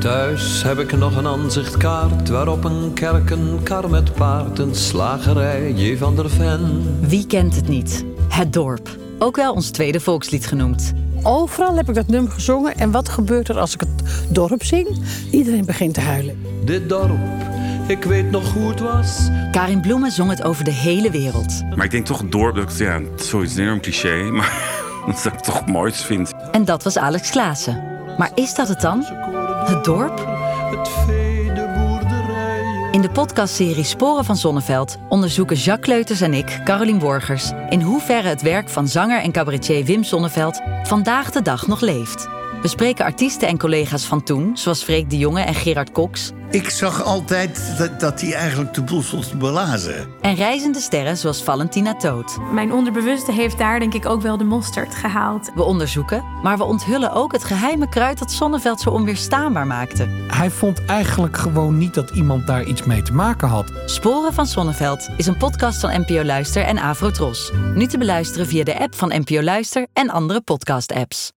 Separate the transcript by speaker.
Speaker 1: Thuis heb ik nog een aanzichtkaart waarop een kerk, een kar met paard, een slagerij, J. van der Ven.
Speaker 2: Wie kent het niet? Het dorp. Ook wel ons tweede volkslied genoemd.
Speaker 3: Overal heb ik dat nummer gezongen. En wat gebeurt er als ik het dorp zing? Iedereen begint te huilen.
Speaker 1: Dit dorp, ik weet nog hoe het was.
Speaker 2: Karin Bloemen zong het over de hele wereld.
Speaker 4: Maar ik denk toch het dorp, dat ik, ja, sorry, het is een enorm cliché, maar dat ik het toch het mooist vind.
Speaker 2: En dat was Alex Klaassen. Maar is dat het dan? Het dorp?
Speaker 1: Het vee, de boerderijen.
Speaker 2: In de podcastserie Sporen van Zonneveld onderzoeken Jacques Leuters en ik, Carolien Borgers, in hoeverre het werk van zanger en cabaretier Wim Zonneveld vandaag de dag nog leeft. We spreken artiesten en collega's van toen, zoals Freek de Jonge en Gerard Cox,
Speaker 5: Ik zag altijd dat, dat hij eigenlijk de boel stond te belazen.
Speaker 2: en reizende sterren zoals Valentina Toot.
Speaker 6: Mijn onderbewuste heeft daar denk ik ook wel de mosterd gehaald.
Speaker 2: We onderzoeken, maar we onthullen ook het geheime kruid dat Zonneveld zo onweerstaanbaar maakte.
Speaker 7: Hij vond eigenlijk gewoon niet dat iemand daar iets mee te maken had.
Speaker 2: Sporen van Zonneveld is een podcast van NPO Luister en Afro Tros. Nu te beluisteren via de app van NPO Luister en andere podcast-apps.